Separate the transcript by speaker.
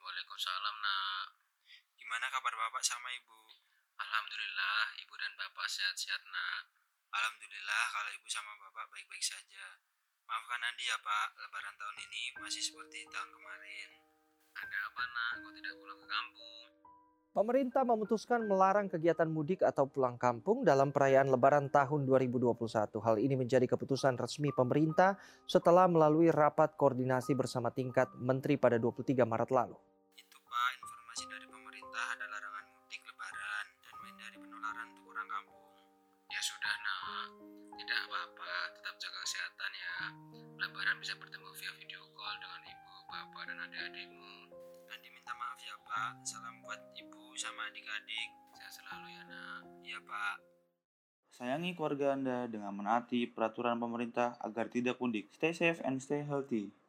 Speaker 1: Waalaikumsalam nak.
Speaker 2: Gimana kabar Bapak sama Ibu?
Speaker 1: Alhamdulillah ibu dan bapak sehat-sehat nak.
Speaker 2: Alhamdulillah kalau Ibu sama Bapak baik-baik saja. Maafkan Andi ya Pak, lebaran tahun ini masih seperti tahun kemarin.
Speaker 1: Ada apa nak? Kok tidak pulang ke kampung?
Speaker 3: Pemerintah memutuskan melarang kegiatan mudik atau pulang kampung dalam perayaan Lebaran tahun 2021. Hal ini menjadi keputusan resmi pemerintah setelah melalui rapat koordinasi bersama tingkat menteri pada 23 Maret lalu.
Speaker 2: Itu Pak, informasi dari pemerintah ada larangan mudik lebaran dan menghindari penularan untuk orang kampung.
Speaker 1: Ya sudah nak. Tidak apa-apa, tetap jaga kesehatan ya. Lebaran bisa bertemu via video call dengan ibu, bapak, dan adik-adikmu.
Speaker 2: Andi minta maaf ya Pak, salam buat Ibu sama adik-adik.
Speaker 1: Sehat selalu ya nak.
Speaker 2: Iya Pak.
Speaker 4: Sayangi keluarga Anda dengan menaati peraturan pemerintah agar tidak pundik. Stay safe and stay healthy.